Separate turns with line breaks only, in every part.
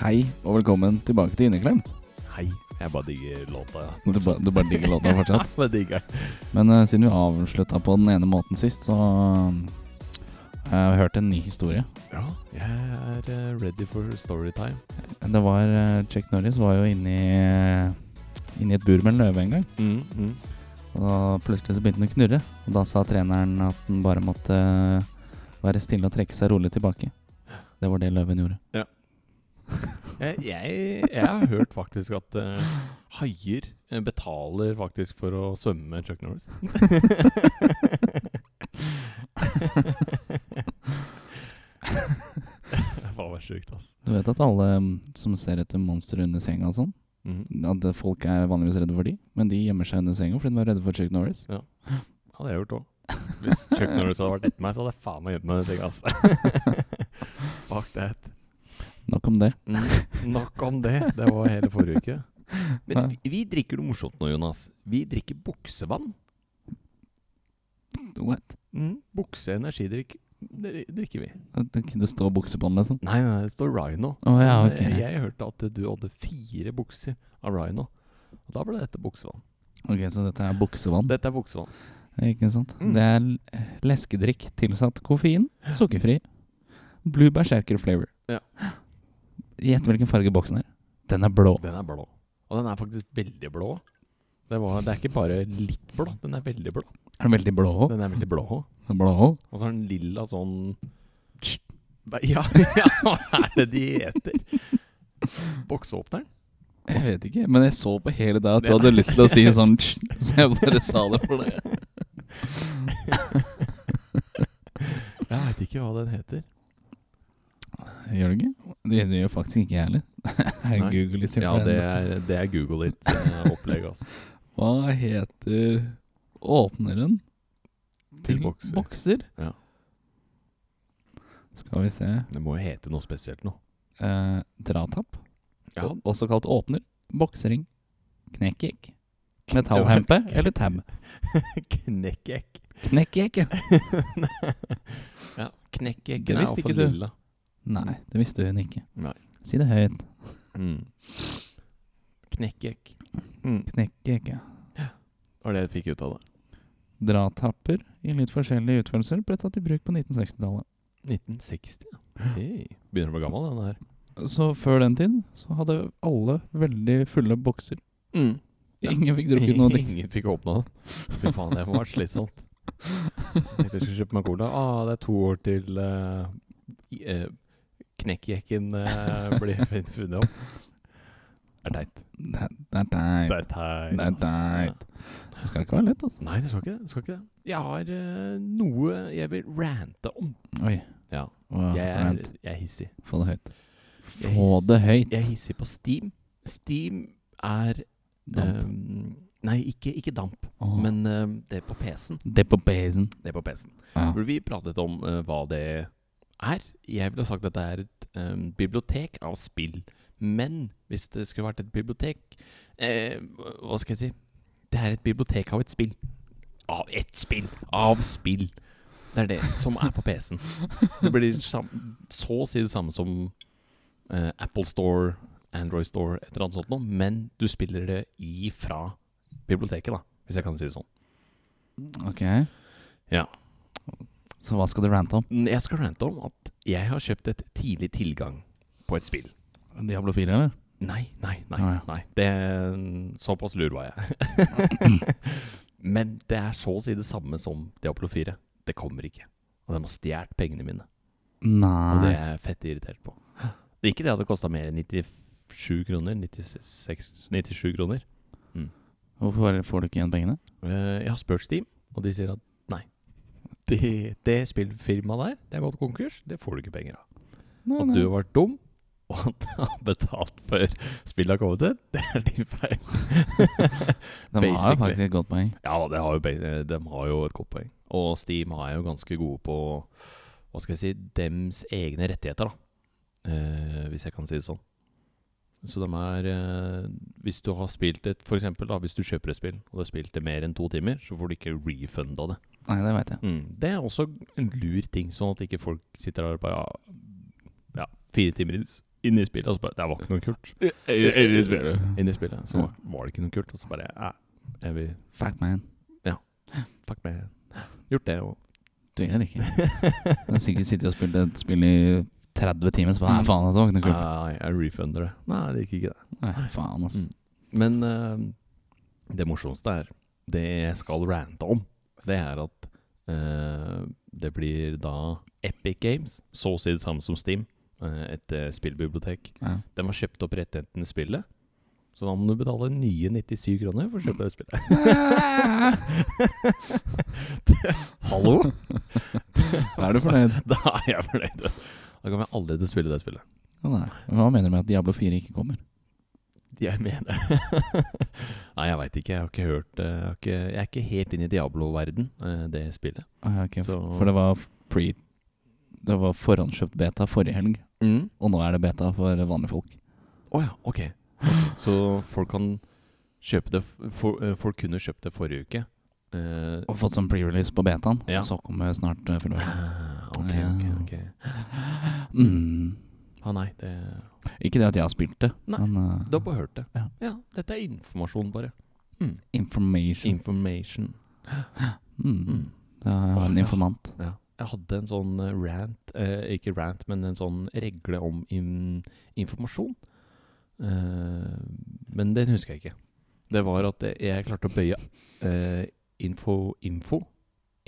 Hei og velkommen tilbake til Inneklemt.
Hei. Jeg bare digger låta. ja.
Du, ba, du bare digger låta fortsatt.
Jeg bare digger den.
Men eh, siden vi avslutta på den ene måten sist, så eh, har jeg hørt en ny historie.
Ja, jeg er eh, ready for storytime.
Det var eh, Chuck Norris var jo inni, inni et bur med en løve en gang.
Mm, mm.
Og da plutselig så begynte den å knurre. Og da sa treneren at den bare måtte eh, være stille og trekke seg rolig tilbake. Det var det løven gjorde.
Jeg, jeg, jeg har hørt faktisk at eh, haier eh, betaler faktisk for å svømme med Chuck Norris. Det var bare sjukt, ass.
Du vet at alle mm, som ser etter monstre under senga og sånn,
Mhm.
at eh, folk er vanligvis redde for de, men de gjemmer seg under senga fordi de er redde for Chuck Norris.
Hadde jeg gjort òg. Hvis Chuck Norris hadde vært etter meg, så hadde jeg faen meg gjemt meg i senga, ass. Fuck that.
Nok om det.
Mm. Nok om det. Det var hele forrige uke. Men vi, vi drikker noe morsomt nå, Jonas. Vi drikker buksevann.
What?
Mm. Bukse energidrikk dri- drikker vi.
Det, det står bukse på den, liksom.
Nei, nei, det står Rhino.
Å ja,
Men,
ok.
eh, Jeg hørte at du hadde fire bukser av Rhino. Og da ble dette buksevann.
Ok, Så dette er buksevann?
Dette er buksevann.
Ikke sant?
Mm.
Det er l- leskedrikk tilsatt koffein, sukkerfri. Blue shaker flavor.
Ja.
Gjett hvilken farge boksen er. Den er blå.
Den er blå. Og den er faktisk veldig blå. Det, var, det er ikke bare litt blå, den er veldig blå.
Er den veldig blå òg?
Den er veldig blå også.
Blå
Og så har den lilla sånn Nei, Ja, ja, hva er det de heter? Bokseåpneren?
Jeg vet ikke, men jeg så på hele deg at du
Ja.
hadde lyst til å si sånn tsk, Så jeg bare sa det for deg.
Jeg veit ikke hva den heter.
Gjør du ikke? Det det gjør faktisk ikke jeg heller. Det er
Nei.
Google i
Ja, det er, det er Google ditt eh, opplegg, altså.
Hva heter åpneren
Til bokser. Ja.
Skal vi se
Det må jo hete noe spesielt nå.
eh, Dratapp.
Ja.
O- Også kalt åpner. Boksering. Knekkjekk. Metallhempe eller tab.
Knekkjekk.
Knekkjekk, ja.
ja, knekkjekk
Det
er
visste
iallfall
ikke du.
lilla.
Nei, det visste hun ikke.
Nei.
Si det høyt.
Mm. Knekkjekk. Mm.
Knekkjekk, ja.
Var det jeg fikk ut av det.
Dratapper i litt forskjellige utførelser ble tatt i bruk på 1960-tallet.
1960. ja. Hei. Begynner å bli gammel, den her.
Så før den tid så hadde alle veldig fulle bokser.
Mm. Ja.
Ingen fikk drukket noe drikk.
Ingen fikk åpna den. Fy faen, det var slitsomt. Tenkte jeg skulle kjøpe meg cola. Ah, det er to år til eh, i- eh, knekkjekken eh, blir fun- funnet opp. Det er teit.
Det det er teit.
er teit.
Det er
ass.
teit. Det skal ikke være lett, altså.
Nei, det skal ikke det. det. Skal ikke det. Jeg har eh, noe jeg vil rante om.
Oi.
Ja.
Åh,
Jeg er,
vent.
jeg er hissig.
Få det høyt.
Jeg
Få
hiss-
det høyt.
Jeg er hissig på Steam. Steam er
Damp.
eh, nei, ikke, ikke damp,
Åh.
men eh, det er på PC-en.
det på basen.
Det er på PC-en.
Ja.
Burde vi pratet om eh, hva det er? Jeg ville sagt at det er et eh, bibliotek av spill. Men hvis det skulle vært et bibliotek eh, Hva skal jeg si? Det er et bibliotek av et spill. Av ett spill! Av spill! Det er det som er på PC-en. Det blir sam så å si det samme som eh, Apple Store, Android Store, et eller annet sånt noe. Men du spiller det ifra biblioteket, da. Hvis jeg kan si det sånn.
Ok.
Ja.
Så hva skal du rante om?
Jeg skal rante om at jeg har kjøpt et tidlig tilgang på et spill.
Diablo 4, eller?
Nei, nei, nei.
Ah, ja.
nei. Det, såpass lur var jeg. Men det er så å si det samme som Diablo 4. Det kommer ikke. Og de har stjålet pengene mine. Og det
Nei.
er jeg fett irritert på. Det er ikke det at det kosta mer enn 97 kroner. 96, 97 kroner.
Hvorfor får du ikke igjen pengene?
Eh, Jeg har spurt Steam, og de sier at nei. Det, det spillfirmaet der, det har gått konkurs. Det får du ikke penger av.
Nei,
At du har vært dum, og at du har betalt før spillet har kommet ut, det er din feil.
De har jo
basically.
faktisk et godt poeng.
Ja, da, det har jo, be- de har jo et godt poeng. Og Steam er jo ganske gode på hva skal jeg si, dems egne rettigheter, da. Eh, hvis jeg kan si det sånn. Så de er eh, Hvis du har spilt et For eksempel, da, hvis du kjøper et spill, og du har spilt det mer enn to timer, så får du ikke refunda det.
Nei, det veit jeg.
Mm. Det er også en lur ting, sånn at ikke folk sitter der og bare Ja, fire timer i inn i spillet, og så bare Det var ikke noe kult.
Inn i spillet.
Inn i spillet, så var, var det ikke noe kult. Og så bare eh, Jeg vil
Fuck man.
Fuck meg. Gjort det, og
Tviler ikke. Du har sikkert sittet og spilt et spill i 30 timer, så
Mm.
bare, nei, faen, altså. det var ikke noe kult.
Nei, ah, jeg refunder det. Nei, det gikk ikke det.
Nei, faen, ass.
Mm. Men eh, det morsomste er Det jeg skal rante om, det er at eh, det blir da Epic Games, så å si det samme som Steam, eh, et eh, spillbibliotek.
Ja.
De har kjøpt opp rettighetene i spillet, så da må du betale nye 97 kroner for å kjøpe det spillet. Hallo?
Da er du fornøyd.
Da er jeg fornøyd. Da kan jeg aldri til å spille det spillet.
Ja, nei. Men Sånn Hva mener du med at Diablo 4 ikke kommer?
Jeg mener det. Nei, jeg veit ikke. Jeg har ikke hørt eh, Jeg, har ikke, jeg er ikke helt inne i Diablo-verden, eh, det spillet.
Ah, ja, ok.
Så
For det var pre... Det var forhåndskjøpt beta forrige helg,
mm.
og nå er det beta for vanlige folk.
Å ja, ok. Ok, Så folk kan kjøpe det f- for, eh, Folk kunne kjøpt det forrige uke. Eh,
Og fått sånn pre-release på betaen,
Ja.
og så kommer snart uh, full versjon.
ah, ok, ok, ok.
Mm.
Ah, nei, det
Ikke det at jeg har spilt det,
Nei.
men uh,
Du har bare hørt det.
Ja.
dette er informasjon, bare.
information.
Information.
mm.
Mm.
Da har jeg en informant.
Ja. Jeg hadde en sånn eh, rant, eh, ikke rant, men en sånn regle om in informasjon. Eh, men den husker jeg ikke. Det var at jeg- jeg klarte å bøye eh, info, info,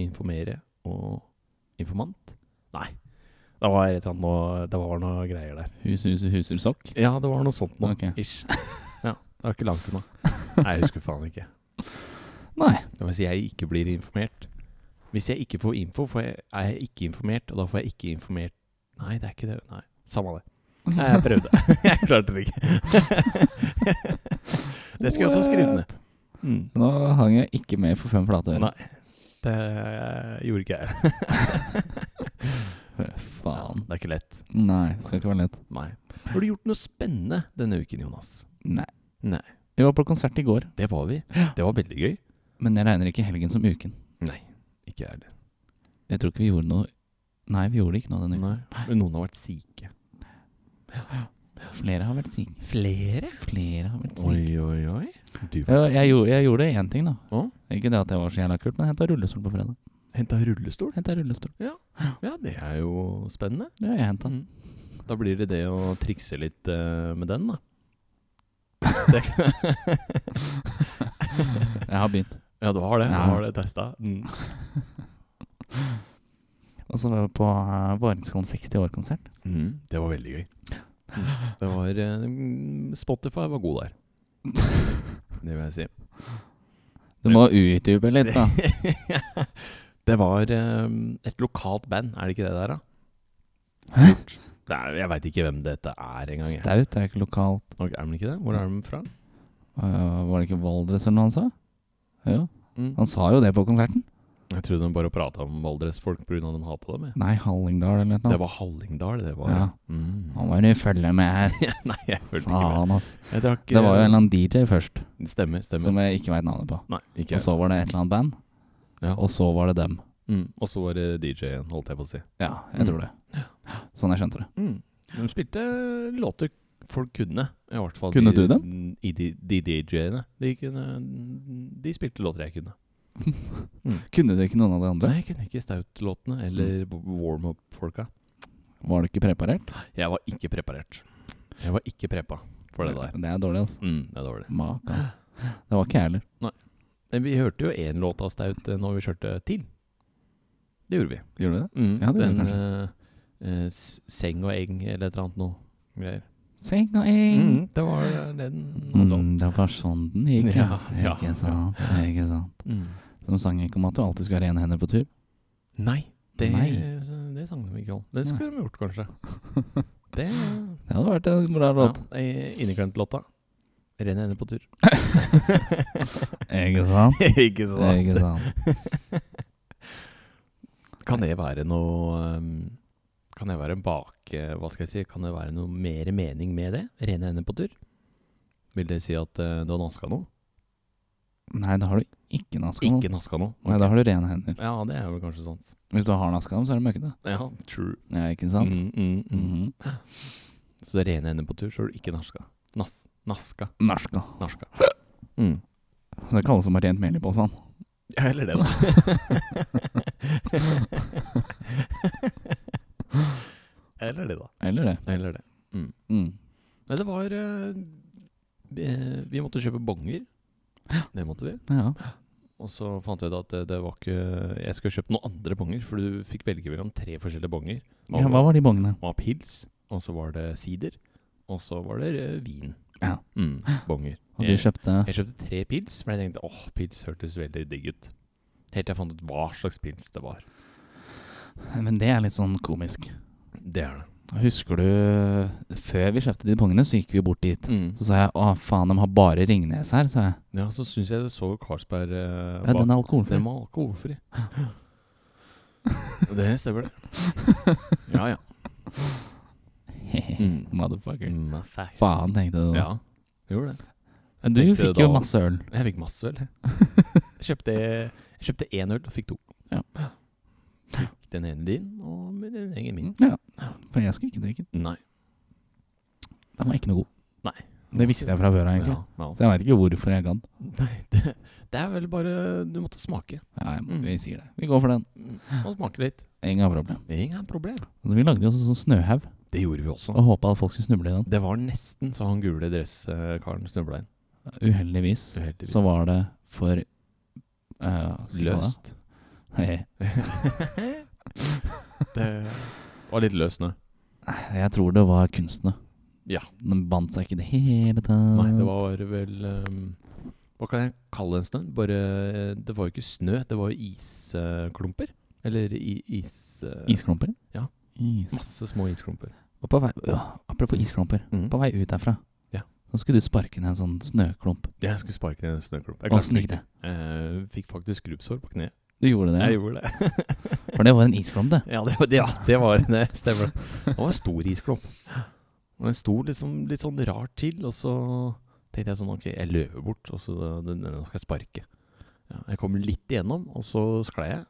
informere og informant. Nei, det var, et eller annet noe, det var noe greier der.
Hus, hus, huser, sokk.
Ja, det var noe sånt nå.
Ok.
Ish. Ja, det var ikke langt unna. Nei, jeg husker faen ikke.
Nei.
Og Hvis jeg ikke blir informert Hvis jeg ikke får info, får jeg, er jeg ikke informert, og da får jeg ikke informert Nei, det er ikke det. Nei, Samme det. Nei, jeg prøvde. jeg klarte det ikke. det skulle jeg også ha skrevet ned. Mm.
Nå hang jeg ikke med for fem flate øre.
Nei, det gjorde ikke jeg.
Fy
Ja,
Faen.
det er ikke lett.
Nei, skal ikke være lett.
Nei. Har du gjort noe spennende denne uken, Jonas?
Nei.
Nei.
Vi var på konsert i går,
Det var vi.
Ja.
Det var veldig gøy.
men jeg regner ikke helgen som uken.
Nei, ikke jeg heller.
Jeg tror ikke vi gjorde noe Nei, vi gjorde ikke noe denne uken.
Nei. Men noen har vært syke.
Flere har vært syke.
Flere?
Flere har vært syke.
Oi, oi, oi. Du
Ja, jeg, gjorde- jeg gjorde én ting, da.
Å?
Ikke det at jeg var så jævla kult, men jeg henta rullestol på fredag.
henta rullestol?
Henta rullestol.
Ja, det er jo spennende.
Det har jeg henta.
Mm. Da blir det det å trikse litt eh, med den, da. Det kan- Mm.
Jeg har begynt.
ja, du har det. Du
Ja.
har det testa. Mm.
Og så var jeg på uh, Varingskollen 60 år-konsert.
Mm, det var veldig gøy. Mm. Det var eh, Spotify var god der. Det vil jeg si.
Du må utdype litt, da.
det var eh, et lokalt band, er det ikke det der, da?
Hæ?
Det er, jeg veit ikke hvem dette er engang. jeg.
Staut er jo ikke lokalt.
Ok, Er de ikke det? Hvor er de fra?
Øh, var det ikke Valdres eller noe han sa? Jo.
Mm.
Han sa jo det på konserten.
Jeg trodde de bare prata om Valdres-folk pga. at de hata dem. jeg.
Nei, Hallingdal eller noe.
Det var Hallingdal, det var
Ja.
Mm.
Han var i følge med her.
Nei, jeg følte ikke med.
Faen, ass.
Jeg drakk
Det var jo en
eh,
eller annen DJ først,
Stemmer, stemmer.
som altså- jeg ikke veit navnet på.
Nei, ikke
Og så var det et eller annet band,
ja.
og så var det dem.
mm. og så var det DJ-en, holdt jeg på å si.
Ja, jeg
Mm.
tror det. Sånn jeg skjønte det.
De spilte låter folk kunne. I hvert fall
Kunne
de,
du
I de, de DJ-ene. De, kunne- de spilte låter jeg kunne.
Kunne du ikke noen av de andre?
Nei, jeg kunne ikke Stout-låtene eller
Mm.
warm-up-folka.
Var du ikke preparert?
Jeg var ikke preparert. Jeg var ikke preppa for det der.
Det er dårlig, altså.
Mm, det er dårlig.
Makan. Det var ikke jeg heller.
Men vi hørte jo én låt av Staut eh, når vi kjørte til. Det gjorde vi.
Gjorde du det?
Mm,
Ja, det gjorde
den
vi
eh, eh, s- Seng og eng eller et eller annet noe greier.
Seng og eng.
Mm, det var det den handlet om.
Mm, det var sånn den gikk, ja.
Ja, ja.
Ikke sant. Ikke sant.
Mm.
De sang ikke om at du alltid skal ha rene hender på tur.
Nei, det,
Nei.
det sang de ikke om. Det skulle de gjort, kanskje. Det
Det hadde vært en bra låt.
Ja, eh, Inneklemt-låta. Ren ende på tur.
Ikke sant?
ikke
Ikke sant.
Kan det være noe um, Kan det være en bak... eh, Hva skal jeg si? Kan det være noe mer mening med det? Rene hender på tur? Vil det si at eh, du har naska noe?
Nei, da har du ikke naska nå.
Ikke naska noe?
Nei, da har du rene hender.
Ja, det er vel kanskje sant.
Hvis du har naska dem, så er det møkkete.
Ja, true.
Ja, ikke sant?
Mm, mm, mm.
Mhm.
Så det rene ender på tur, så har du ikke naska. Nas, naska.
Narska.
Naska. Mm.
Så det kalles som har tjent mel i posen.
Ja, eller det, da. eller det, da.
Eller det.
Eller det.
Mm.
Nei, det var eh, eh, Vi måtte kjøpe bonger. Det måtte vi.
Ja.
Og så fant jeg ut at det, det var ikke Jeg skulle kjøpt noen andre bonger, for du fikk velge mellom tre forskjellige bonger.
ja, hva var de bongene?
Det var pils, og så var det sider, og så var det eh, vin.
Ja.
Mm, bonger.
Og du
Eh,
kjøpte
Jeg kjøpte tre pils, for jeg tenkte åh, pils hørtes veldig digg ut. Helt til jeg fant ut hva slags pils det var.
Men det er litt sånn komisk.
Det er det.
Husker du Før vi kjøpte de bongene, så gikk vi bort dit.
Mm.
Så sa jeg å faen, de har bare Ringnes her, sa jeg.
Ja, så syns jeg det så Carlsberg
Ja,
eh, bak-
den er alkoholfri.
Den var alkoholfri. Det stemmer, det. Ja, ja. Mm.
Motherfucker.
Mm, facts.
Faen, tenkte du da.
Ja, gjorde det.
Men du
tenkte
fikk
da-
jo masse øl.
Jeg fikk masse øl. jeg. Jeg kjøpte, jeg kjøpte én øl og fikk to.
Ja.
Fikk den ene din og den ene min.
Ja. For jeg skulle ikke drikke den.
Nei.
Den var ikke noe god.
Nei.
Det visste jeg fra før av, egentlig.
Ja, ja.
Så jeg veit ikke hvorfor jeg gadd.
Nei, det, det er vel bare Du måtte smake.
Ja, jeg,
Mm.
vi sier det. Vi går for den.
Mm, Og smake litt.
Ingen problem.
Ingen problem.
Så vi lagde jo også sånn snøhaug
Det gjorde vi også.
og håpa at folk skulle snuble i den.
Det var nesten så han gule dresskaren snubla inn.
Uheldigvis
Uheldigvis.
så var det for eh,
løst.
Jeg,
Det var litt løs nå.
Eh, jeg tror det var kunstene.
Ja.
Den bandt seg ikke i det hele tatt.
Nei, det var vel ehm, Hva kan jeg kalle en snø? Bare eh, Det var jo ikke snø, det var jo isklumper. Eller i, is... eh,
Isklumper?
Ja.
Is.
Masse små isklumper.
Og på vei, ja, apropos isklumper. På vei ut derfra
Ja.
så skulle du sparke ned en sånn snøklump.
Jeg skulle sparke ned en snøklump. Jeg
Åssen
klarte det
gikk
ikke.
det?
Eh, fikk faktisk skrubbsår på kneet.
Du gjorde det?
Jeg
ja.
gjorde det.
For det var en isklump, det.
Ja, det var det. Ja, det, var, det stemmer. Det var en stor isklump. Og den sto liksom litt sånn rart til, og så tenkte jeg sånn Ok, jeg løper bort, og så den, den skal jeg sparke. Ja, jeg kom litt igjennom, og så sklei jeg.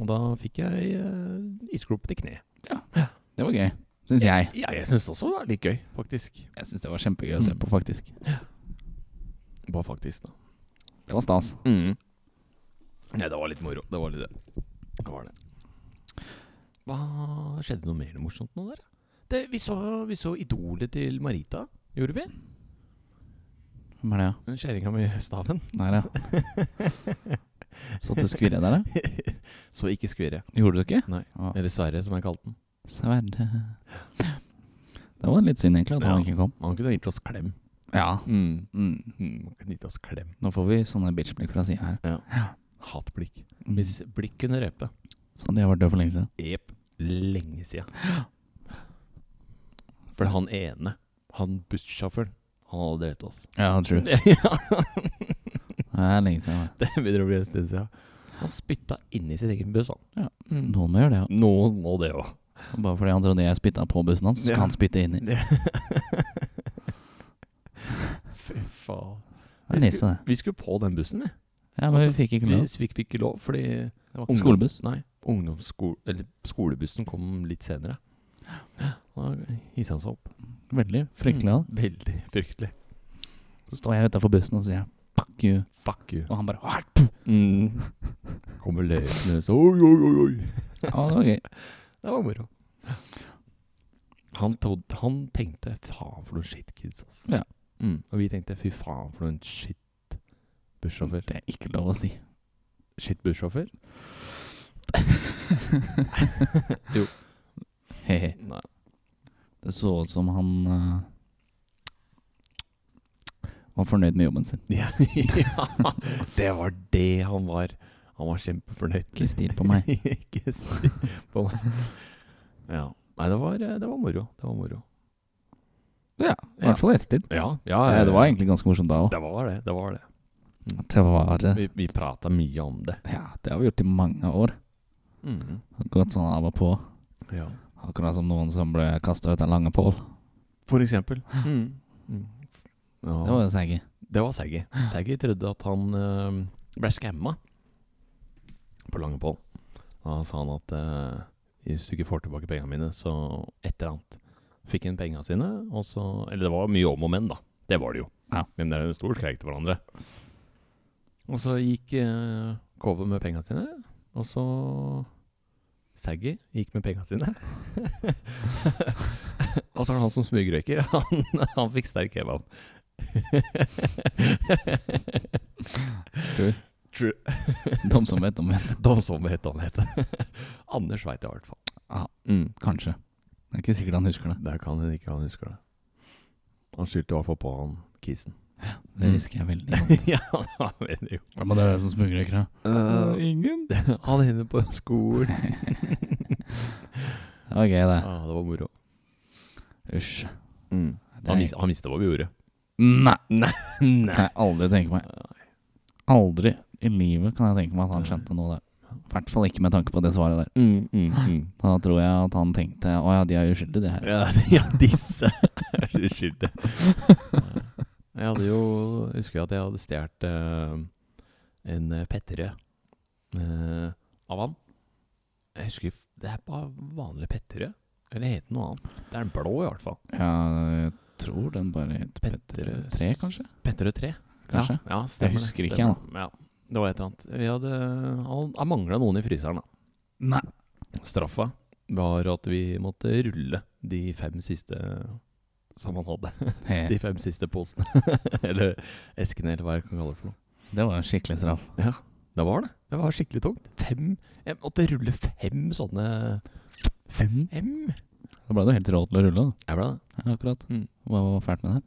Og da fikk jeg eh, isklump til kneet.
Det var gøy, syns jeg.
Ja, jeg syns også det var litt gøy, faktisk.
Jeg syns det var kjempegøy å se
Mm.
på, faktisk.
Bare faktisk, da.
Det var stas.
Mm. Nei, det var litt moro. Det var litt det. Det var det. Hva Skjedde noe mer morsomt nå, der? Det, vi, så, vi så idolet til Marita, gjorde vi?
Hvem er det, ja?
Den Kjerringa med staven.
Der, ja. Så du skvirre der, da?
så ikke skvirre.
Gjorde du ikke?
Nei.
Å,
Eller Sverre, som jeg kalte den.
Sverre Det var litt synd, egentlig, at han
Ja.
ikke kom.
Han kunne gitt oss klem.
Ja.
Mm.
Mm.
Man kunne gitt oss klem.
Nå får vi sånne bitchblikk fra sida her.
Hatblikk.
Mm.
Hvis blikk kunne røpe.
Sånn, de har vært døde for lenge siden.
Jepp. Lenge sia. For han ene, han bussjåføren, han hadde drept oss.
Ja, true.
Ja.
Det er lenge siden. da.
Det begynner å bli en stund siden. Han spytta inni sin egen buss, han.
Ja. mm. Noen må gjøre det, ja.
Noen må det òg.
Og Bare fordi han trodde jeg spytta på bussen hans, så skal
Ja.
han spytte inni.
Fy faen.
Det er nisse, det.
Vi skulle på den bussen, vi.
Ja, men
Altså,
vi fikk ikke
Vi
lov.
fikk fikk ikke lov fordi
Det var
ungdom-
ikke skolebuss.
Nei. Ungdomssko eller skolebussen kom litt senere. Da hissa han seg opp.
Veldig fryktelig.
Mm, Veldig fryktelig.
da. Så står jeg utafor bussen og sier 'fuck you',
Fuck you.
og han bare «Åh!»
Mm. Kommer løpende så oi, oi, oi, oi.
Ja, det var gøy.
Det var moro. Han, trodde, han tenkte 'faen for noen shitkids', ass.
Ja.
Mm. Og vi tenkte 'fy faen for noen shit bussjåfør'.
Det er ikke lov å si. Mm.
Shit bussjåfør?
Hehe.
Nei.
Det så ut som han eh, var fornøyd med jobben sin.
Ja, det var det han var. Han var kjempefornøyd.
Ikke stil på meg.
Ikke stil på meg. Ja. Nei, det var, det var moro. Det var moro.
Ja, i hvert fall i ettertid.
Ja, ja,
Ja, det var egentlig ganske morsomt da òg.
Eh, Det var det. det, var det. Mm.
Det var det.
Vi, vi prata mye om det.
Ja, det har vi gjort i mange år. Gått sånn av og på.
Mm. Ja.
Akkurat som noen som ble kasta ut av lange pål.
For eksempel. Mm. Ja.
Det var jo seige.
Det var Saggy. Saggy trodde at han eh, ble skamma på Langepål. Da sa han at eh, hvis du ikke får tilbake pengene mine, så et eller annet, Fikk inn penga sine, og så Eller det var mye om og men, da. Det var det jo.
Ja.
Men det er jo en stor skreik til hverandre. Og så gikk eh, Kove med penga sine, og så Saggy gikk med penga sine. og så er det han som smygrøyker. Han, han fikk sterk kebab.
True.
True.
De som vet, de vet.
Da så vi hette han het. Anders veit det i hvert fall.
Ja. mm, Kanskje. Det er ikke sikkert han husker det.
Der kan hende ikke han husker det. Han skyldte i hvert fall på han Kisen.
Det
Mm.
husker jeg veldig godt.
ja, han vet jo.
Men det er det som smugrøyker, da.
ingen? Eh, han hender på skolen.
Det var gøy, det.
Ja, det var moro.
Usj. Det
Han,
er-
mis han mista hva vi gjorde.
Nei,
Nei.
kan jeg aldri tenke meg. Aldri i livet kan jeg tenke meg at han skjønte noe der. I hvert fall ikke med tanke på det svaret der.
Mm, mm, mm.
Da tror jeg at han tenkte å ja, de er uskyldige, de her.
Ja, ja, disse er så uskyldige. Jeg hadde jo jeg husker at jeg hadde stjålet eh, en eh, Petterøe eh, av han. Jeg husker f- Det er bare vanlig Petterøe. Eller heter den noe annet. Det er den blå, i hvert fall.
Ja, jeg tror den bare het Petter 3, kanskje?
Petterøe 3.
Kanskje?
Ja, ja stemmer
husker
det.
ikke,
stemmer det. Ja, det var et eller annet. Vi hadde Han han mangla noen i fryseren, da.
Nei.
Straffa var at vi måtte rulle de fem siste som han hadde.
He,
De fem siste posene. eller eskene, eller hva jeg kan kalle det for noe.
det var en skikkelig straff.
Det var det. Det var skikkelig tungt. Fem Jeg måtte rulle fem sånne
Fem?
Fem?
Da ble du helt rå til å rulle, da.
Jeg ble det.
Ja, akkurat.
Mm.
Hva var fælt med det?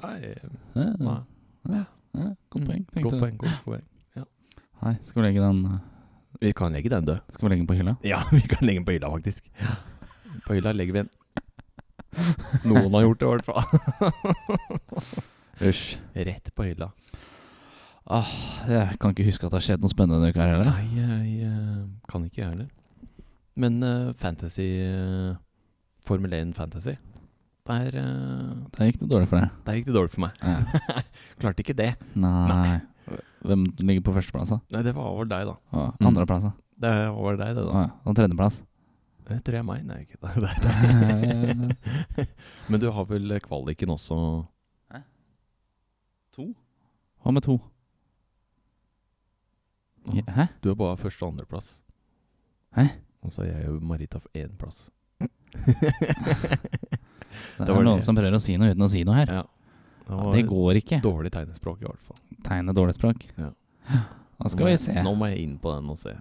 Nei,
Ja,
nei.
ja, godt poeng,
Mm,
tenkte
Godt
jeg.
poeng, godt poeng.
Nei, skal vi legge den
Vi kan legge den død.
Skal vi legge den på hylla?
Ja, vi kan legge den på hylla, faktisk. På hylla legger vi den. Noen har gjort det, i hvert fall.
Usj.
Rett på hylla.
Jeg kan ikke huske at det har skjedd noe spennende denne uka her heller.
Nei, jeg eh, kan ikke jeg heller. Men eh, fantasy eh, Formel 1 Fantasy, der, eh,
Der gikk det dårlig for deg.
der gikk det dårlig for meg.
Ja.
Klarte ikke det.
Nei. Hvem ligger på førsteplass, da?
Nei, det var vel deg, da.
Å,
Mm.
Andreplass, da?
Det var deg, det,
Å,
da.
ja. Og tredjeplass?
Det tror jeg er meg. Nei, ikke det. det. er- Men du har vel kvaliken også
Hva med to? Ja, Hæ?
Du er bare første- og andreplass.
Hæ?
Og så er jeg jo Marita for én plass.
Det,
Det var
er noen
det.
som prøver å si noe uten å si noe her.
Ja. Det
Ja,
var
det går ikke.
dårlig tegnespråk, i hvert fall.
Tegne dårlig språk.
Ja.
Da skal vi se.
Nå må jeg inn på den og se.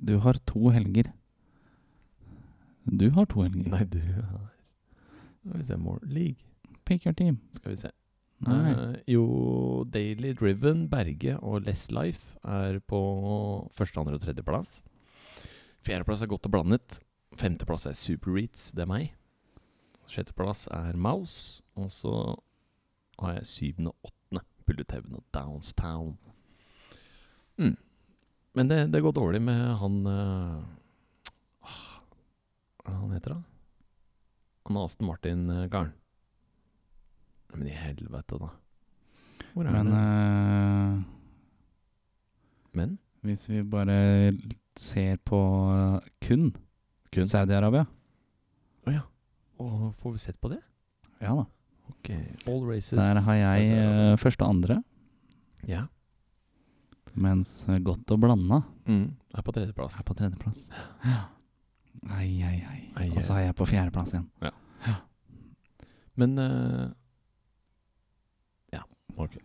Du har to helger. Du har to helger.
Nei, du har Skal vi se More League.
Pick your team.
Skal vi se.
Nei.
Eh, jo, Daily Driven, Berge og Less Life er på første, andre og tredjeplass. Fjerdeplass er godt og blandet. Femteplass er Super Reats, det er meg. Sjetteplass er Mouse. Og så har jeg syvende og åttende, Pulleteven og Downstown. Mm. Men det, det går dårlig med han eh, ah, Hva han heter han? Han er Aston Martin-garn. Men i helvete, da. Hvor er
Men
det?
eh,
Men?
hvis vi bare ser på eh, kun,
Kun?
Saudi-Arabia
Å ja. Å, får vi sett på det?
Ja da.
Ok. All races
Der har jeg
Saudi-Arabia.
eh, første og andre,
Ja.
mens eh, godt og blanda
Mm. Er på tredjeplass.
er på tredjeplass. Ja. Ai, ai, ai.
Ai,
Og så
ai.
er jeg på fjerdeplass igjen.
Men eh, Ja. Ok.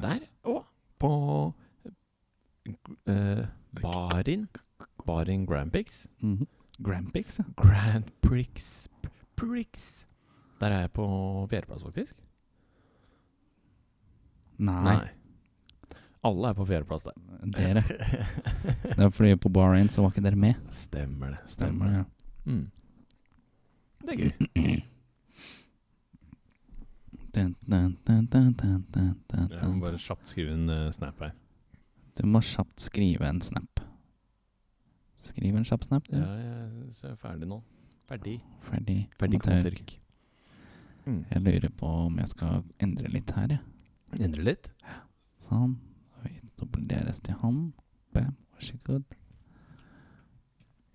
Der òg. På eh, Barin. Barin Grand Prix.
Mhm. Grampix, ja.
Grand Prix. Prix. Der er jeg på fjerdeplass, faktisk.
Nei,
Alle er på fjerdeplass der.
dere. Det er fordi på Bahrain så var ikke dere med.
Stemmer det.
Stemmer det.
Mm. Det er gøy.
Dun, dun, dun, dun, dun, dun, dun,
Jeg må
dun.
bare kjapt skrive en eh, snap her.
Du må kjapt skrive en snap. Skriv en kjapp snap, du.
Ja, jeg så er jeg ferdig nå. Ferdig.
Ferdig.
Ferdig
kommentar.
kommentert. Mm.
Jeg lurer på om jeg skal endre litt her, jeg.
Endre litt.
Sånn. Da gir vi Dobbel DRS til han. Bam. Vær så god.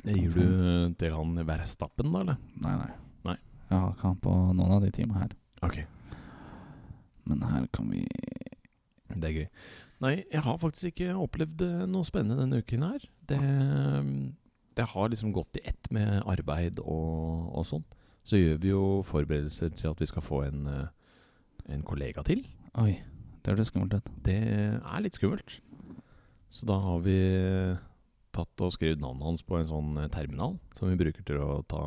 Det gir du eh, til han Verstappen, da, eller?
Nei, nei.
Nei.
Jeg Jeg har ikke han på noen av de timene her.
Ok.
Men her kan vi
Det er gøy. Nei, jeg har faktisk ikke opplevd eh, noe spennende denne uken her. Det, mm, det har liksom gått i ett med arbeid og, og sånn. Så gjør vi jo forberedelser til at vi skal få en, eh, en kollega til.
Oi, det hørtes skummelt ut.
Det er litt skummelt. Så da har vi eh, tatt og skrevet navnet hans på en sånn eh, terminal som vi bruker til å ta,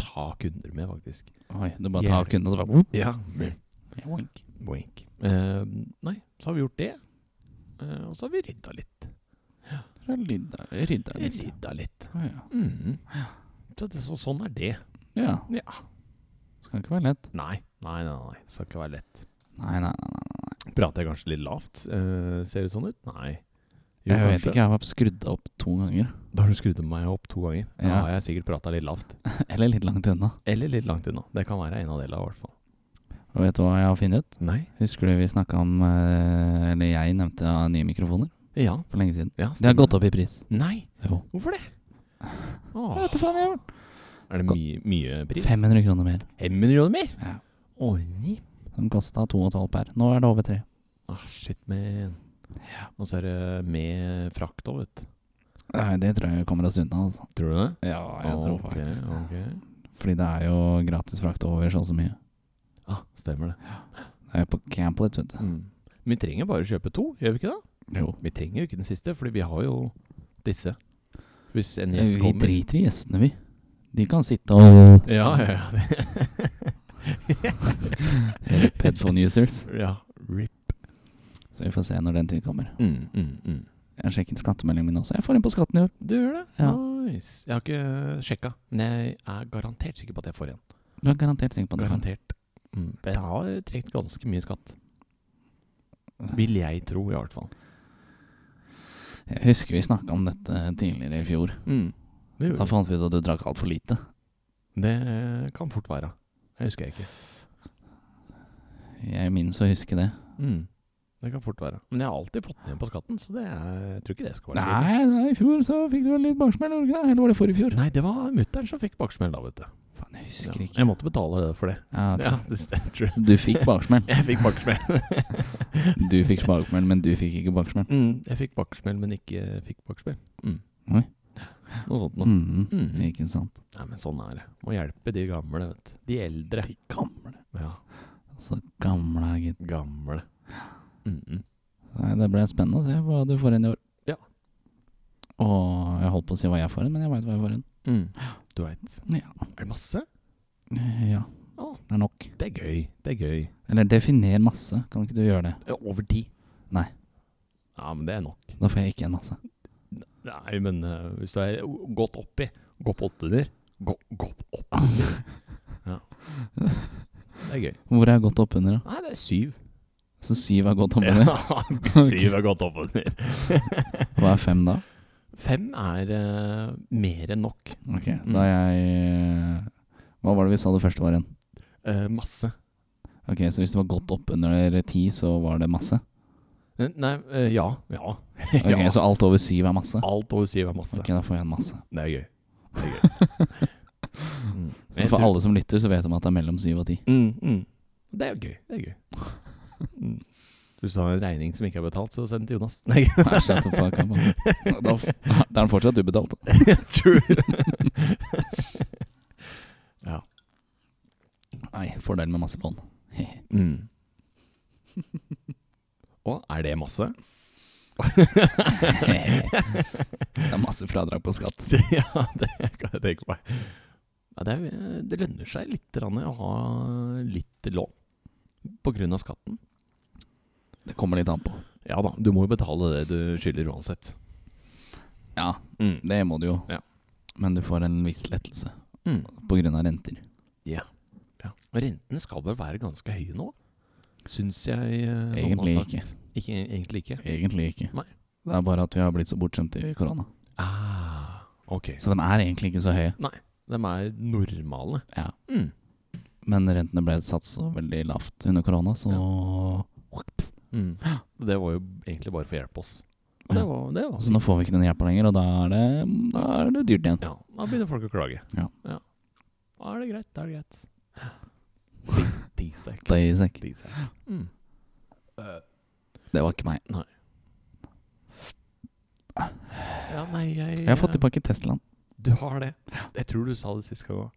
ta kunder med, faktisk.
Oi, du bare
Yeah.
tar kunden og så bare
Ja,
Ja, wink.
Boink. Eh, nei, så har vi gjort det. Eh, og så har vi rydda litt.
Tror jeg Rydda, rydda litt.
Rydda litt.
Å, ja.
Mhm. Så det, så, sånn er det.
ja.
Ja.
Skal ikke være lett.
Nei, nei, nei. nei. Skal ikke være lett.
Nei, nei, nei. nei.
Prater jeg kanskje litt lavt? Eh, ser det sånn ut? Nei. Jo,
Jeg vet
kanskje.
ikke, jeg har skrudd opp to ganger.
Da har du skrudd meg opp to ganger. Da
Ja.
har jeg sikkert prata litt lavt.
Eller litt langt unna.
Eller litt langt unna. Det kan være en av delene, i hvert fall.
Og vet du hva jeg har funnet ut?
Nei.
Husker du vi snakka om eh, Eller jeg nevnte ja, nye mikrofoner
Ja.
for lenge siden.
ja
De har gått opp i pris.
Nei,
Jo.
hvorfor det?
Jeg vet
Åh,
da faen jeg har gjort.
er det mye, mye pris?
500 kroner mer.
500 kroner mer?
Ja.
Oi.
De kosta 2,5 per. Nå er det over 3.
Ah, shit, man. Og så er det med frakt òg, vet du.
Nei, det tror jeg vi kommer oss unna, altså.
Tror du det?
Ja, jeg tror
Ok,
faktisk det.
ok.
Fordi det er jo gratis frakt over så og så mye.
Ah, stemmer det.
Det er jo på Camplet, vet du.
Mm. Vi trenger bare kjøpe to, gjør vi ikke det?
Jo.
Vi trenger jo ikke den siste, fordi vi har jo disse. Hvis en gjest
Vi
kommer
driter i gjestene, vi. De kan sitte og
Ja, ja, ja.
Rip headphone users.
ja. Rip.
Så vi får se når den tid kommer.
Mm, mm, mm.
Jeg sjekket skattemeldingen min også. Jeg får inn på skatten i år.
Du gjør det?
Ja.
Nice. Jeg har ikke sjekka, men jeg er garantert sikker på at jeg får en.
Du er garantert sikker på at du kan.
Garantert. Mm. Jeg har trukket ganske mye skatt. Vil jeg tro, i hvert fall.
Jeg husker vi snakka om dette tidligere i fjor.
Mm. Det,
Da
gjorde jeg.
fant vi ut at du drakk altfor lite.
det eh, kan fort være. Jeg husker jeg ikke.
Jeg minnes å huske det.
Mm. Det kan fort være. Men jeg har alltid fått ned på skatten, så det er, jeg tror ikke det skal være så ille.
Nei, nei, i fjor så fikk du vel litt baksmell, gjorde du ikke det? Eller var det forrige fjor?
Nei, det var mutter'n som fikk baksmell da, vet du.
Faen, jeg
Ja.
husker ikke.
Jeg måtte betale det for det.
Ja, ok.
Ja, det stemmer.
Så du fikk baksmell.
Jeg fikk baksmell.
Du fikk baksmell, men du fikk ikke baksmell.
mm, jeg fikk baksmell, men ikke fikk baksmell. Mm.
Oi.
Noe sånt noe.
Mhm,
Mm.
Ikke sant.
Nei, men sånn er det. Må hjelpe de gamle, vet du. De eldre.
De gamle.
Ja,
Så gamle, gitt.
gamle. Mm -mm.
Nei, det ble spennende å se hva du får inn i år.
Ja.
Og jeg holdt på å si hva jeg får inn, men jeg veit hva jeg får inn.
Mm. Du veit.
Ja.
Er det masse?
ja.
Å.
Det er nok.
Det er gøy. Det er gøy.
Eller definer masse. Kan ikke du gjøre det?
Eh, Over ti?
Nei.
Ja, men det er nok.
Da får jeg ikke en masse.
Nei, men eh, hvis du er o- godt oppi Gå på åttener. Gå, gå opp ja. Det er gøy.
Hvor er jeg godt oppunder, da?
Nei, det er syv.
Så syv er godt oppunder.
syv er godt oppunder.
Hva er fem da?
Fem er eh, mer enn nok.
Ok, da er jeg Hva var det vi sa det første var igjen?
Eh, masse.
Ok, så hvis det var godt oppunder ti, så var det masse?
Eh, Nei, eh, ja. Ja.
Ok,
ja.
Så alt over syv er masse?
Alt over syv er masse.
Ok, da får jeg en masse.
Det er gøy. Det er gøy. Mm.
Så for alle som lytter, så vet de at det er mellom syv og ti.
Mm, mm. Det er jo gøy. Det er gøy. Mm. Hvis du har en regning som ikke er betalt, så send den til Jonas. Nei,
Nei, shut the fuck up, altså. Da, da er den fortsatt ubetalt.
true. ja.
Nei, fordel med masse lån.
Mm. Og er det masse?
Det er masse fradrag på skatt.
ja, det kan jeg tenke meg. Ja, det, er, det lønner seg litt grann å ha litt lån på grunn av skatten.
Det kommer litt an på.
Ja da, du må jo betale det du skylder uansett.
Ja,
Mm.
det må du jo.
Ja.
Men du får en viss lettelse
Mm.
på grunn av renter.
Ja. Og rentene skal vel være ganske høye nå? Syns jeg eh, noen har
Egentlig
sagt.
ikke.
ikke. Egentlig ikke.
Egentlig ikke.
Nei.
Det er bare at vi har blitt så bortskjemt i korona.
Ah, ok.
Så de er egentlig ikke så høye.
De er normale.
Ja.
Mm.
Men rentene ble satt så veldig lavt under korona, så
Mm. Det var jo egentlig bare for å hjelpe oss. Og det var, det var
Så nå får vi ikke den hjelpa lenger, og da er det, da er det dyrt igjen.
Ja, Da begynner folk å klage.
Ja.
Da er det greit. Da er det greit. Disak.
Daysack.
Disak. Mm.
Det var ikke meg.
Ja, nei, jeg
Jeg har fått tilbake Teslaen.
Du har det. Jeg tror du sa det sist gang òg.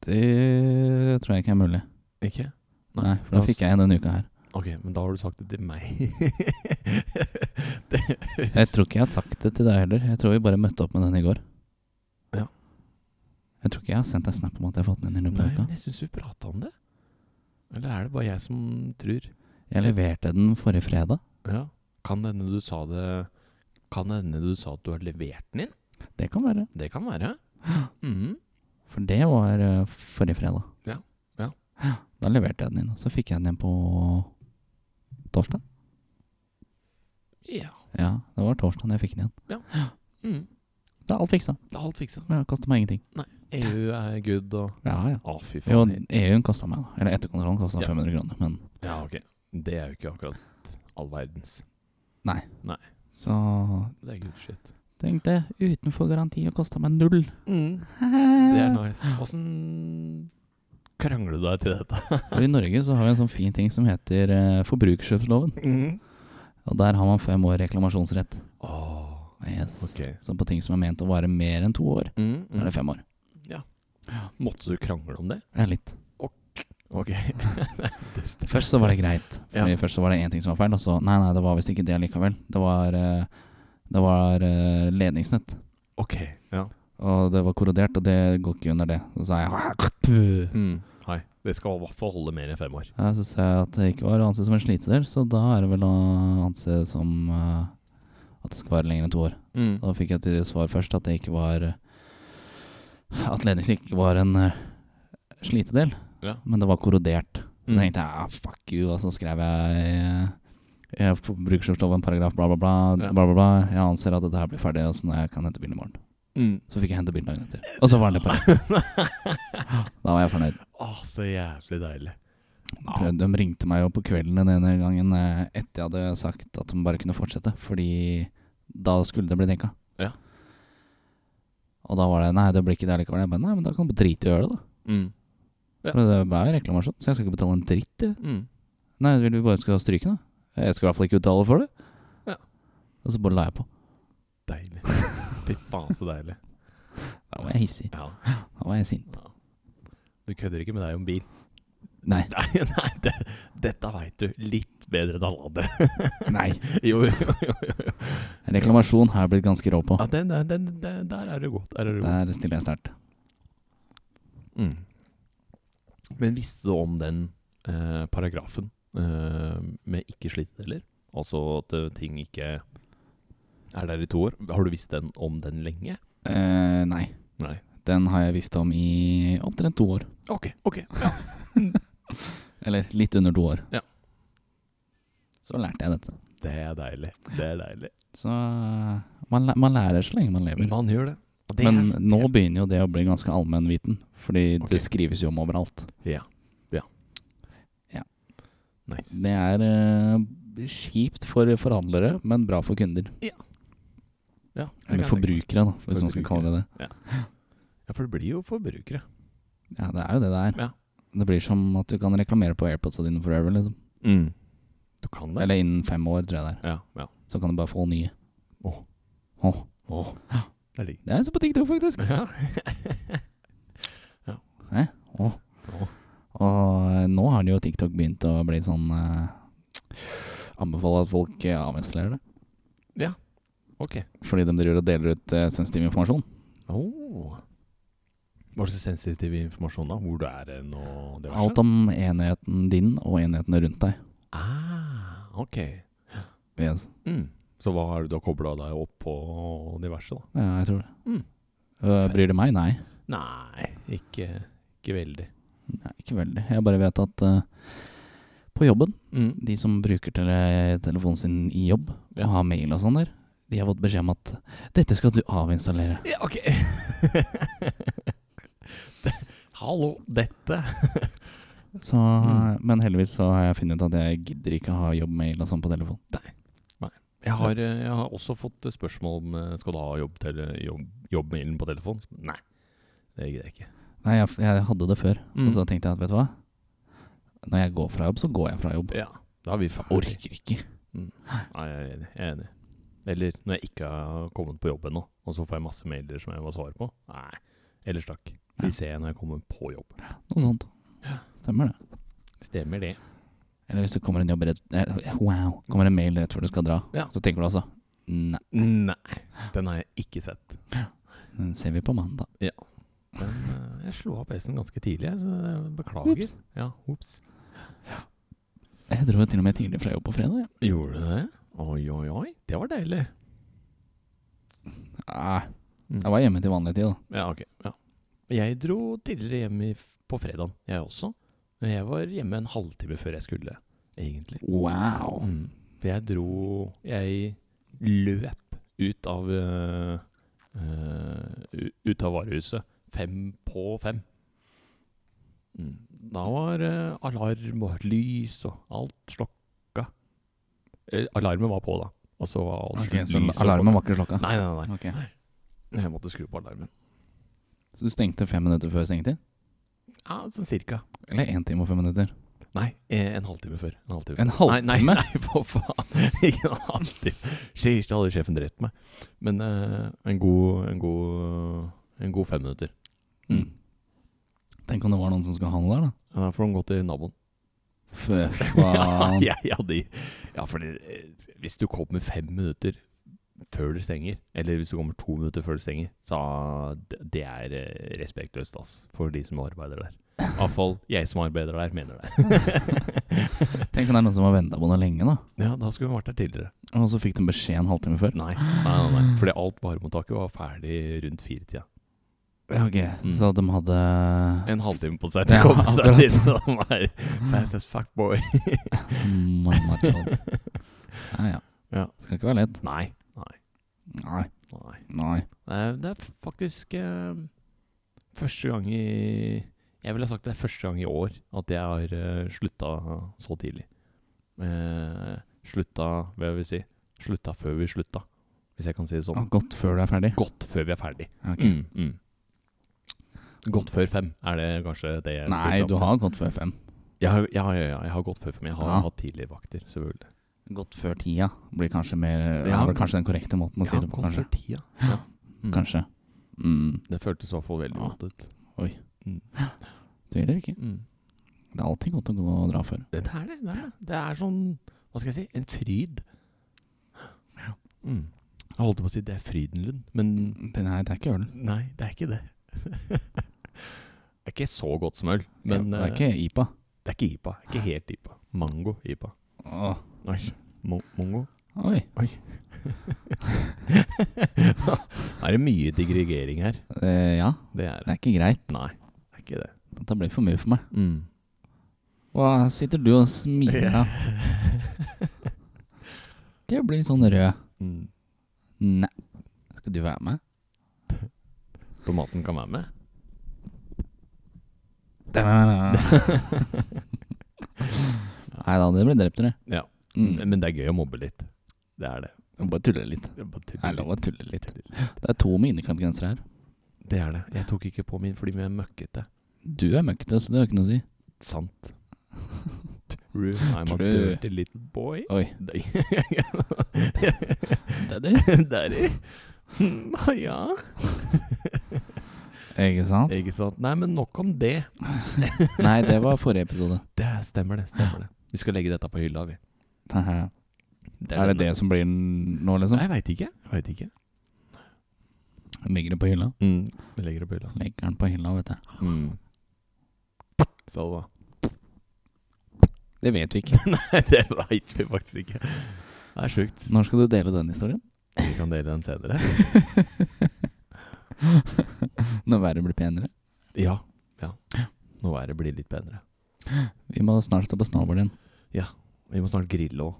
Det tror jeg ikke er mulig.
Ikke? Nei,
Nei,
la
for da
oss-
fikk jeg en denne uka her.
Ok, men da har du sagt det til meg. det
Jeg tror ikke jeg har sagt det til deg heller. Jeg tror vi bare møtte opp med den i går.
Ja.
Jeg tror ikke jeg har sendt deg snap om at jeg har fått den inn i løpet
Nei,
av uka.
men jeg syns vi prata om det. Eller er det bare jeg som tror?
Jeg leverte den forrige fredag.
Ja. Kan det hende du sa det Kan det hende du sa at du har levert den inn?
Det kan være.
Det kan være. Mhm.
For det var eh, forrige fredag.
Ja, ja.
Da leverte jeg den inn, og så fikk jeg den igjen på torsdag.
Ja.
Ja, det var torsdag jeg fikk den igjen.
Mhm.
Da er alt fiksa.
Det er alt fiksa.
Ja, Kosta meg ingenting.
EU E er good og
Ja, ja.
Å, fy
Jo,
faen.
EU-en kosta meg, da. Eller etterkontrollen kosta
Ja.
500 kroner. Men
Ja, ok. Det er jo ikke akkurat all verdens.
så
Det er good shit.
tenkte jeg utenfor garanti og kosta meg null.
Det er nice. Åssen krangler du deg til dette?
For I Norge så har vi en sånn fin ting som heter eh, forbrukerkjøpsloven. Og der har man fem år reklamasjonsrett.
Åh,
Yes.
Ok.
Så på ting som er ment å vare mer enn to år, så
Mm.
er det fem år.
Måtte du krangle om det?
Ja, litt.
Ok. Dust.
Først så var det greit.
Ja.
Fordi Først så var det én ting som var feil, og så Nei, nei, det var visst ikke det likevel. Det var, eh, det var eh, ledningsnett.
Ok, ja.
Og det var korrodert, og det går ikke under det. Og så sa jeg
Nei, det skal i hvert fall holde mer enn fem år.
Ja, så sa jeg at det ikke var å anse som en slitedel, så da er det vel å anse som eh, at det skal vare lenger enn to år. Da fikk jeg til svar først at det ikke var At ledningen ikke var en eh, slitedel,
Ja.
men det var korrodert. Så
Mm.
tenkte jeg ah, fuck you, og så skrev jeg eh, jeg Brukerskjøpsloven paragraf bla, bla, bla,
Ja.
bla, bla, bla. Jeg anser at dette her blir ferdig, og sånn jeg kan hente bilen i morgen. Så fikk jeg hente bilen dagen etter. Og så var den det på rett.
Ah.
Da var jeg fornøyd.
Å, så jævlig deilig.
Prøvde- De ringte meg jo på kvelden den ene gangen eh, etter jeg hadde sagt at de bare kunne fortsette, fordi da skulle det bli dekka.
Ja.
Og da var det Nei, det blir ikke det likevel. Jeg bare Nei, men da kan du bare drite i å gjøre det, da.
Ja.
For det er jo reklamasjon, så jeg skal ikke betale en dritt. jeg. Nei, vil du bare skal stryke, den, da? Jeg skal i hvert fall ikke betale for det.
Ja.
Og så bare la jeg på.
Deilig. Fy faen, så deilig.
Da var jeg hissig.
Ja.
Da var jeg sint.
ja. Du kødder ikke med deg om bil?
Nei.
Nei, nei det, dette veit du litt bedre enn alle andre.
Nei.
Jo, jo, jo. jo.
Reklamasjon har jeg blitt ganske rå på.
Ja, den, den, den, den, der er du godt. Der er du god.
Der stiller jeg sterkt.
Mm. Men visste du om den eh, paragrafen eh, med ikke slitedeler? Altså at eh, ting ikke er der i to år. Har du visst den om den lenge?
Eh, nei.
Nei.
Den har jeg visst om i omtrent to år.
Ok, ok. Ja.
Eller litt under to år.
Ja.
Så lærte jeg dette.
Det er deilig. Det er deilig.
Så eh, man, læ- man lærer så lenge man lever.
Man gjør det. Og det
Men
er-
nå begynner jo det å bli ganske allmennviten, fordi
Ok.
det skrives jo om overalt.
Ja. Ja.
Ja.
Nice.
Det er eh, kjipt for forhandlere, men bra for kunder.
Ja, det kan
Eller
jeg tenke meg.
forbrukere, da, hvis man skal kalle det det.
Ja, for det blir jo forbrukere.
Ja, det er jo det det er.
Ja.
Det blir som at du kan reklamere på AirPodsa dine forever, liksom.
Mm. Du kan det?
Eller innen fem år, tror jeg det er.
Ja. ja.
Så kan du bare få nye.
Åh.
Åh.
Åh. Det er digg.
Det er så på TikTok, faktisk.
Ja.
Hæ? Åh.
Åh.
Og nå har det jo TikTok begynt å bli sånn eh, Anbefale at folk eh, avinnstallerer det.
Ok.
Fordi de driver og deler ut eh, sensitiv informasjon.
Oh. Hva slags sensitiv informasjon da? Hvor du er hen og diverse?
Alt om enheten din og enhetene rundt deg.
Ah, ok.
Yes.
Mm. Så hva har du da kobla deg opp på og diverse, da?
Ja, jeg tror det.
Mm.
Eh, bryr det meg? Nei.
Nei, ikke, ikke veldig.
Nei. Ikke veldig. Jeg bare vet at eh, på jobben,
Mm.
de som bruker tele telefonen sin i jobb
Ja.
og har mail og sånn der, de har fått beskjed om at 'dette skal du avinstallere'.
Ja, ok. Det- Hallo, dette
Så,
Mm.
Men heldigvis så har jeg funnet ut at jeg gidder ikke ha jobbmail og sånn på telefon.
jeg har, eh, jeg har også fått eh, spørsmål om eh, skal du ha jobb tele- jobb- jobbmailen på telefon. Nei, det gidder jeg ikke.
Nei, jeg, jeg hadde det før,
Mm.
og så tenkte jeg at vet du hva Når jeg går fra jobb, så går jeg fra jobb.
Ja, da er vi ferdig.
Orker ikke.
Nei, jeg er enig. Jeg er enig. Eller når jeg ikke har kommet på jobb ennå, og så får jeg masse mailer som jeg må svare på. Nei, ellers takk.
Ja.
Vi ser når jeg kommer på jobb.
Noe sånt. Stemmer det.
Stemmer det.
Eller hvis det kommer en jobb rett eh, Wow. Kommer en mail rett før du skal dra,
Ja.
så tenker du altså Nei,
Nei, den har jeg ikke sett.
den ser vi på mandag.
Men eh, jeg slo av PC-en ganske tidlig, jeg, så jeg beklager.
Ops.
Ja, ops.
Jeg dro jo til og med tidlig fra jobb på fredag. jeg.
Gjorde du det? Oi, oi, oi. Det var deilig.
Ah,
Mm.
jeg var hjemme til vanlig tid, da.
Ja, ok. Ja. Jeg dro tidligere hjem i, f- på fredagen, jeg også. Men jeg var hjemme en halvtime før jeg skulle, egentlig.
Wow.
Mm. For jeg dro Jeg løp ut av øh, øh, u- Ut av varehuset fem på fem. Mm. Da var øh, alarm og lys og alt slokka. Eh, alarmen var på, da. Og så var alt
Ok, så
lyset
alarmen
slokka.
var ikke slokka?
Nei, nei, nei.
Ok.
Jeg måtte skru på alarmen.
Så du stengte fem minutter før stengetid?
Ja, Sånn cirka.
Eller én time og fem minutter?
Nei, eh, en halvtime før. En halvtime?
En
før. Nei,
halvtime?
nei, nei, for faen. Ikke en halvtime. Sheesh, da hadde sjefen drept meg. Men eh, en, god, en, god, en god fem minutter.
Mm. Tenk om det var noen som skulle handle der, da.
Ja, Da får de gå til naboen.
Fy
Ja,
faen.
jeg, jeg hadde, ja for hvis du kommer fem minutter før det stenger, eller hvis du kommer to minutter før det stenger, så det, det er eh, respektløst, ass, for de som arbeider der. Iallfall jeg som arbeider der, mener det.
Tenk om det er noen som har venta på noe lenge, da.
ja, da skulle vi vært der tidligere.
Og så fikk de beskjed en halvtime før.
Nei, nei, nei, nei. fordi alt varemottaket var ferdig rundt firetida.
Mm. Ja, Ok,
Mm.
Så de hadde
En halvtime på seg til
Ja,
å komme seg
akkurat. Mm.
dit. så han var Fast as fuck, boy.
Mamma tjall. Ja, ja.
Ja.
Skal ikke være lett.
Nei.
Nei.
nei.
Nei.
Eh, Det er faktisk eh, første gang i Jeg ville sagt det er første gang i år at jeg har eh, slutta så tidlig. Eh, slutta Hva vil jeg si? Slutta før vi slutta, hvis jeg kan si det
Ah,
sånn.
godt før du er ferdig.
Godt før vi er ferdig.
Ja, ok.
Mm, mm. Godt før fem, er det kanskje det jeg skulle
Nei,
fram
du
til.
har gått før fem.
Jeg har, ja, ja, ja, jeg har gått før, men jeg har
Ja.
hatt tidlige vakter, selvfølgelig.
Godt før tida blir kanskje mer
Ja.
er vel kanskje den korrekte måten å si
Jeg
det
har
på,
gått
kanskje.
før tida.
Ja.
Mm.
Kanskje. Mm.
Det føltes i hvert fall veldig
Ja.
godt ut.
Tviler ikke.
Mm.
Det er alltid godt å gå og dra før.
Det er det. Det er, det. det er sånn Hva skal jeg si? En fryd. Mm. Jeg holdt på å si det er Frydenlund, men
Det, nei, det er ikke ølen.
nei, det er ikke det. det er ikke så godt som øl, men
det
eh,
er ikke IPA.
det er ikke IPA. Det er ikke helt IPA. Mango-IPA.
Åh.
Mongo?
Oi.
Er det mye digregering her?
Eh, ja,
Det er
det er ikke greit.
Nei, det er ikke det. Mm.
Dette ble for mye for meg. Hva sitter du og smiler av? Ikke bli sånn rød.
Mm.
Nei. Skal du være med?
Tomaten kan være med.
Nei da, dere ble drept, dere.
Ja.
Mm.
Men det er gøy å mobbe litt. Det er det.
Jeg må Bare tulle litt.
Det er, bare
Det er
tull.
lov å tulle litt. Det er to med inneklemt genser her.
det er det. Jeg tok ikke på min fordi vi er møkkete.
Du er møkkete, så det har ikke noe å si.
Sant. True. I'm a
True.
dirty little boy.
Oi.
Daddy.
Det er du.
Daddy. Hmm, Ja.
Ikke sant?
Ikke sant. Nei, men nok om det.
Nei, det var forrige episode.
Det stemmer, det. Stemmer det. Vi skal legge dette på hylla, vi.
Haha. Er det det som blir den nå,
Nei,
liksom?
Jeg veit ikke. Jeg vet ikke.
Ligger det på hylla?
Vi legger det på hylla.
Legger den på hylla, vet du.
Så da.
Det vet vi ikke.
Nei, det veit vi faktisk ikke. Det er sjukt.
Når skal du dele den historien?
Vi kan dele den senere.
Når været blir penere.
Ja. ja. Nå er det blir litt bedre.
Vi må snart stå på snowboarden.
Vi må snart grille òg.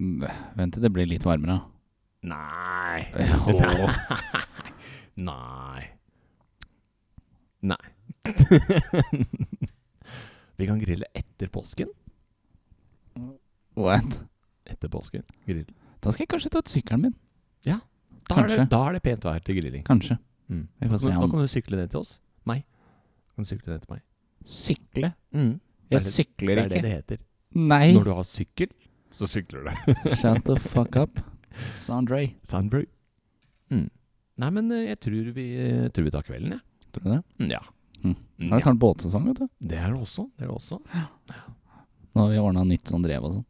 Mm, Vent til det blir litt varmere.
Nei.
Jo.
Nei. Nei. Vi kan grille etter påsken.
What?
Etter påsken. Grill.
Da skal jeg kanskje ta ut sykkelen min.
Da er, det,
Kanskje.
da er det pent vær til grilling.
Kanskje.
Mm.
Vi får
Da
se
kan- da
om
kan du sykle ned til oss. Meg. kan du sykle ned til meg.
Sykle?
Mm.
Jeg
Det er det- Det
sykler
er det
ikke.
det heter.
Nei!
Når du har sykkel, så sykler du.
Shut the fuck up. Sandray.
Sandbrew. Mm. Nei, men eh, jeg tror vi, jeg tror vi tar kvelden, jeg.
Tror du det?
Mm, Ja.
Mm.
Mm,
Nå er det
ja.
snart båtsesong, vet du.
Det er det også. Det er det også.
Nå har vi ordna nytt sånn drev og sånn.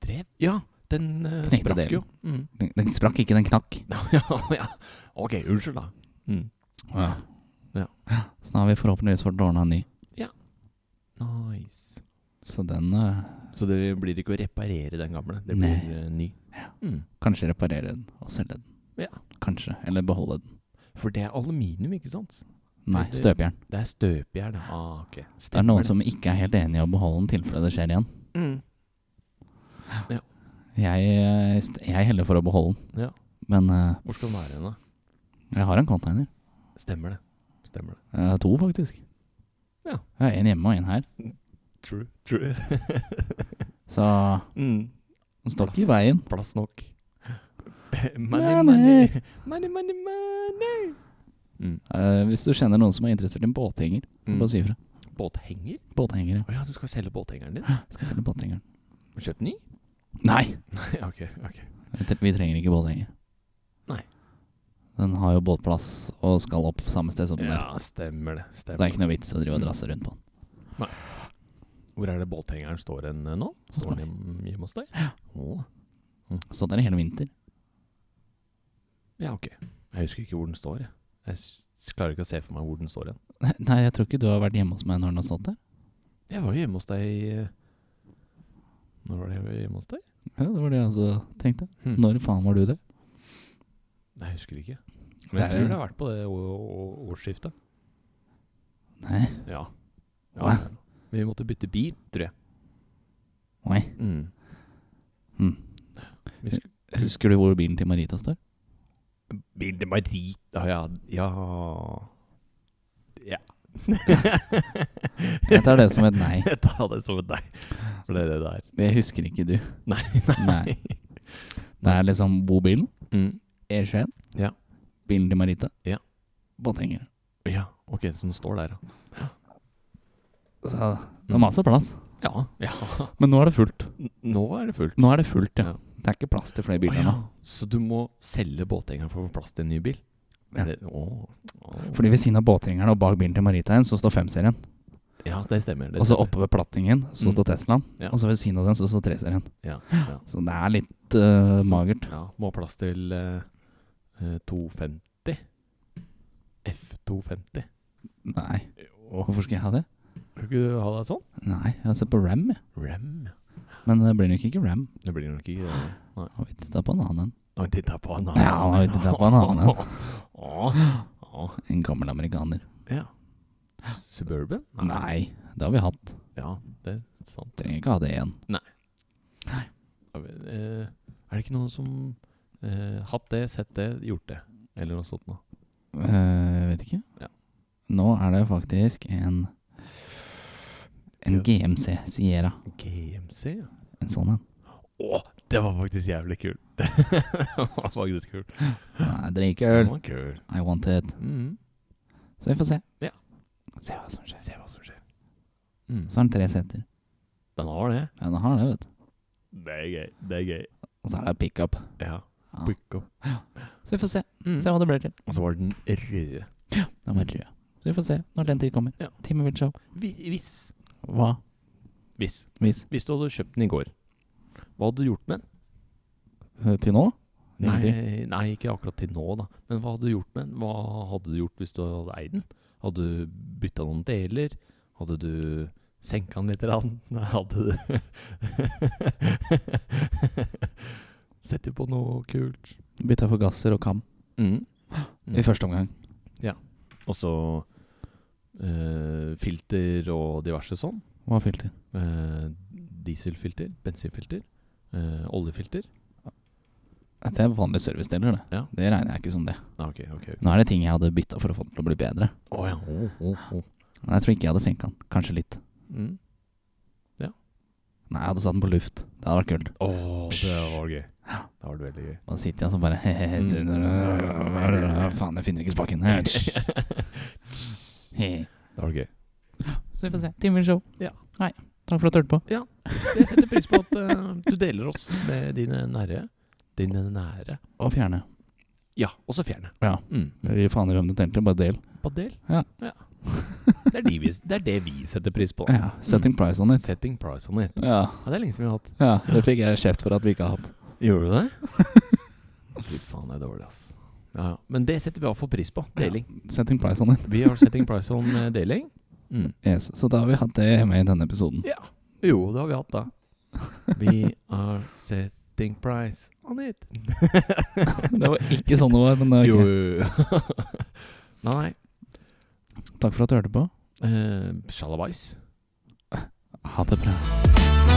Drev Ja, den eh,
Knekte
sprakk
delen.
jo. Mm.
Den, den sprakk ikke, den knakk.
ja, ja. Ok, unnskyld, da. Mm.
Ja.
Ja.
Så nå har vi forhåpentligvis fått ordna en ny.
Nice.
Så den eh,
Så det blir ikke å reparere den gamle, det blir
Nei.
eh, ny. Mm.
Kanskje reparere den og selge den.
Ja.
Kanskje. Eller beholde den.
For det er aluminium, ikke sant?
Nei,
Det-
støpejern.
Det er støpejern. ja. Ah, ok.
Det er noen som ikke er helt enig i å beholde den i tilfelle det skjer igjen.
mm.
Jeg, eh, st- jeg heller for å beholde den.
Ja.
Men eh,
Hvor skal den være hen, da?
jeg har en container.
Stemmer det. Stemmer det.
Jeg har to, faktisk.
Ja.
Jeg har en hjemme og en her.
True. True.
Så
mm.
den står ikke
Plass.
i veien.
Plass nok. Money,
Money.
money. Money, money, money.
Eh, hvis du kjenner noen som er interessert i en båthenger,
Mm.
bare si ifra.
Båthenger?
Båthenger, ja.
Å ja, du skal selge båthengeren din?
Skal selge båthengeren.
Kjøp ny?
Nei!
ok, ok.
Vi tre- Vi trenger ikke båthenger.
Nei.
Den har jo båtplass og skal opp samme sted som den er.
Ja, stemmer det.
Så det er
Stemmer.
ikke noe vits å drive og
Mm.
drasse rundt på den.
Hvor er det båthengeren står hen eh, nå? Står den hjem- hjemme hos deg? Å.
Mm. Så det er hele vinter.
Ja, ok. Jeg husker ikke hvor den står. jeg. Jeg s- s- klarer ikke å se for meg hvor den står hen.
Nei, jeg tror ikke du har vært hjemme hos meg når den har stått der.
Jeg var jo hjemme hos deg eh, Når var det jeg var hjemme hos deg?
Ja, det var det jeg også tenkte.
Hm.
Når faen var du det?
Nei, Jeg husker ikke.
Det
Men jeg
er-
tror det har vært på det å- å- årsskiftet.
Nei.
Ja. ja.
Hva?
Vi måtte bytte bil, tror jeg.
Nei.
Mm.
Hm.
Vi sk-
Husker du hvor bilen til Marita står?
Bil til Marita, ja. Ja. ja.
Jeg tar det som et nei.
Jeg tar det som et nei. For det er det der.
Det husker ikke du.
Nei, Mm.
Nei. Det er liksom bobilen, E21,
Ja.
bilen til Marita,
Ja.
båthenger.
Ja, ok, så den står der, ja.
Så mm. det er masse plass.
Ja. ja.
Men nå er det fullt.
N- Nå er det fullt.
Nå er det fullt,
Ja.
ja. Det er ikke plass til flere
Å
biler
ja.
nå.
Så du må selge båthengeren for å få plass til en ny bil?
Ja.
Er det- Å. Å.
Fordi ved siden av båthengeren og bak bilen til Marita igjen, så står femserien.
Ja, det stemmer. Det
Og så
stemmer.
oppe ved plattingen, så
Mm.
står Teslaen.
Ja.
Og så ved siden av den, så står treserien.
Ja, ja.
Så det er litt eh,
Så-
magert.
ja. Må ha plass til eh, eh, 250. F250.
Nei,
Åh,
hvorfor skal jeg ha det?
Skal ikke du ha deg sånn?
Nei, jeg har sett på Ram, jeg.
Ram.
Men det blir nok ikke Ram.
Det blir nok ikke det. Nei.
Har vi titta på en annen en?
Nå har vi titta på en annen.
Ja, nå har vi tittet på en annen.
Åh, åh.
En gammel amerikaner.
Ja. Suburban?
Nei, det har vi hatt.
Ja, det er sant.
Trenger ikke ha det igjen.
Ja, men, eh, Er det ikke noen som eh, hatt det, sett det, gjort det? Eller noe sånt noe?
Eh, vet ikke.
Ja.
Nå er det faktisk en En
Ja.
GMC Sierra.
GMC? ja.
En sånn en.
Å, det var faktisk jævlig kul. det var faktisk kul.
Nei,
Det
Drikøl.
var kul.
I want it.
Mhm.
Så vi får se.
Ja.
Se hva som skjer.
Se hva som skjer. Mm.
Så har den tre seter.
Den har det.
Ja, den har det, vet du.
Det er gøy. Det er gøy.
Og så er det pickup.
Ja.
Ja.
Pick up.
Så vi får se.
Mm.
Se hva det blir til.
Og så var den røde.
Den var rød. Så vi får se når den tid kommer.
Ja.
Time will show.
Hvis, hvis,
Hva?
hvis,
Hvis.
hvis du hadde kjøpt den i går, hva hadde du gjort med den?
Eh, Til nå? Ingenting.
Nei, nei, ikke akkurat til nå, da. Men hva hadde du gjort med den? Hva hadde du gjort hvis du hadde eid den? Hadde du bytta noen deler? Hadde du senka den litt? Rann? Nei, Hadde du Sett deg på noe kult.
Bytta forgasser og kam
Mm.
i første omgang.
Og så eh, filter og diverse sånn.
Hva filter?
Eh, dieselfilter, bensinfilter, eh, oljefilter.
Det er vanlige servicedeler, det.
Ja.
Det regner jeg ikke som det.
Ah, ok, ok. Oh, ok.
Nå er det ting jeg hadde bytta for å få den til å bli bedre.
Å ja. Å, å, å.
Men jeg tror ikke jeg hadde senka den. Kanskje litt.
Mm.
Nei, jeg hadde satt den på luft. Det hadde vært kult.
Å, det var gøy. Det var veldig gøy.
Da sitter jeg og så bare
Mm.
hehehe, så- Faen, jeg finner ikke spaken. He.
Da var det
Så vi får se. Timen show.
Ja.
Hei. Takk for at du hørte på.
Jeg setter pris på at eh, du deler oss med dine nære. Dine nære.
Og fjerne.
Ja, og så fjerne.
Ja.
Mm.
Vi faner hvem du tenkte, bare del.
På del.
Ja.
Det, er de vi, det er det vi setter pris på.
Ja. Setting price on it.
Setting price on it.
Ja.
Ja, det er lenge siden vi har hatt.
ja. Det fikk jeg kjeft for at vi ikke har hatt.
Gjorde du det? Fy faen, det er dårlig, ass. Ja, ja. Men det setter vi iallfall pris på. Deling.
Setting price on it.
Vi har setting price on eh, deling. Mm.
Yes. Så da har vi hatt det med i denne episoden.
Ja. Jo, det har vi hatt, da. Vi are setting price on it.
Det var ikke sånn det var, men det var
Jo,
ikke.
jo, jo. Nei. eh,
Takk for at du hørte på.
Uh, Shalabais.
Ha det bra.